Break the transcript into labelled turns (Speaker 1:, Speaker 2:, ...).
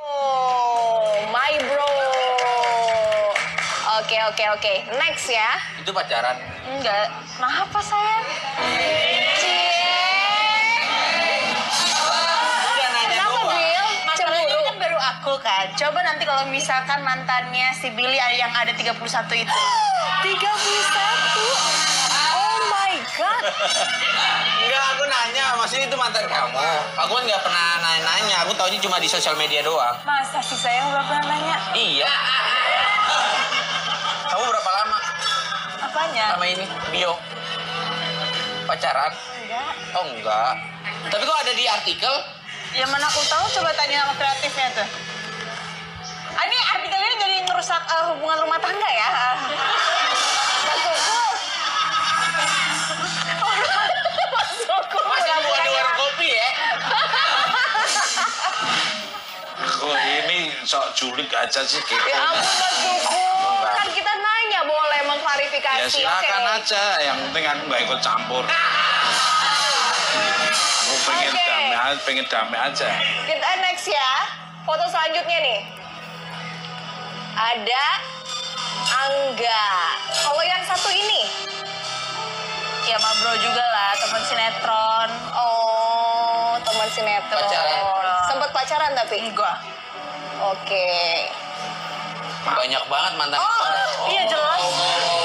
Speaker 1: Oh, Oke oke oke. Next ya.
Speaker 2: Itu pacaran.
Speaker 1: Enggak. Nah, Maaf Pak sayang. Cie. Kenapa Bill?
Speaker 3: Masalahnya
Speaker 1: Cemburu.
Speaker 3: kan baru aku kan. Coba nanti kalau misalkan mantannya si Billy yang ada 31 itu.
Speaker 1: 31. Oh my god.
Speaker 2: Enggak, aku nanya, maksudnya itu mantan kamu. Aku kan nggak pernah nanya-nanya, aku taunya cuma di sosial media doang.
Speaker 3: Masa sih sayang belum pernah nanya?
Speaker 2: Iya. Kamu berapa lama
Speaker 3: Apanya?
Speaker 2: sama ini? Bio. Pacaran?
Speaker 3: Enggak.
Speaker 2: Oh enggak. Tapi kok ada di artikel?
Speaker 3: Yang mana aku tahu coba tanya sama kreatifnya tuh. Ah, Ini artikel ini jadi ngerusak eh, hubungan rumah tangga ya.
Speaker 2: Masa buat di warung kopi ya?
Speaker 4: Kok Oh, ini sok culik aja sih gitu.
Speaker 1: Ya ampun Mas Kuku. Kan kita nanya boleh mengklarifikasi.
Speaker 4: Ya silakan aja, yang penting aku nggak ikut campur. Aku pengen
Speaker 1: Oke.
Speaker 4: damai, aja- pengen damai aja.
Speaker 1: Kita next ya. Foto selanjutnya nih. Ada Angga. Kalau yang satu ini.
Speaker 3: Ya mah bro juga lah, teman sinetron.
Speaker 1: Oh, teman sinetron.
Speaker 2: Pacaran.
Speaker 1: Sempet pacaran tapi.
Speaker 3: Enggak.
Speaker 1: Oke.
Speaker 2: Banyak banget mantan.
Speaker 3: Oh, iya jelas.
Speaker 2: Oh,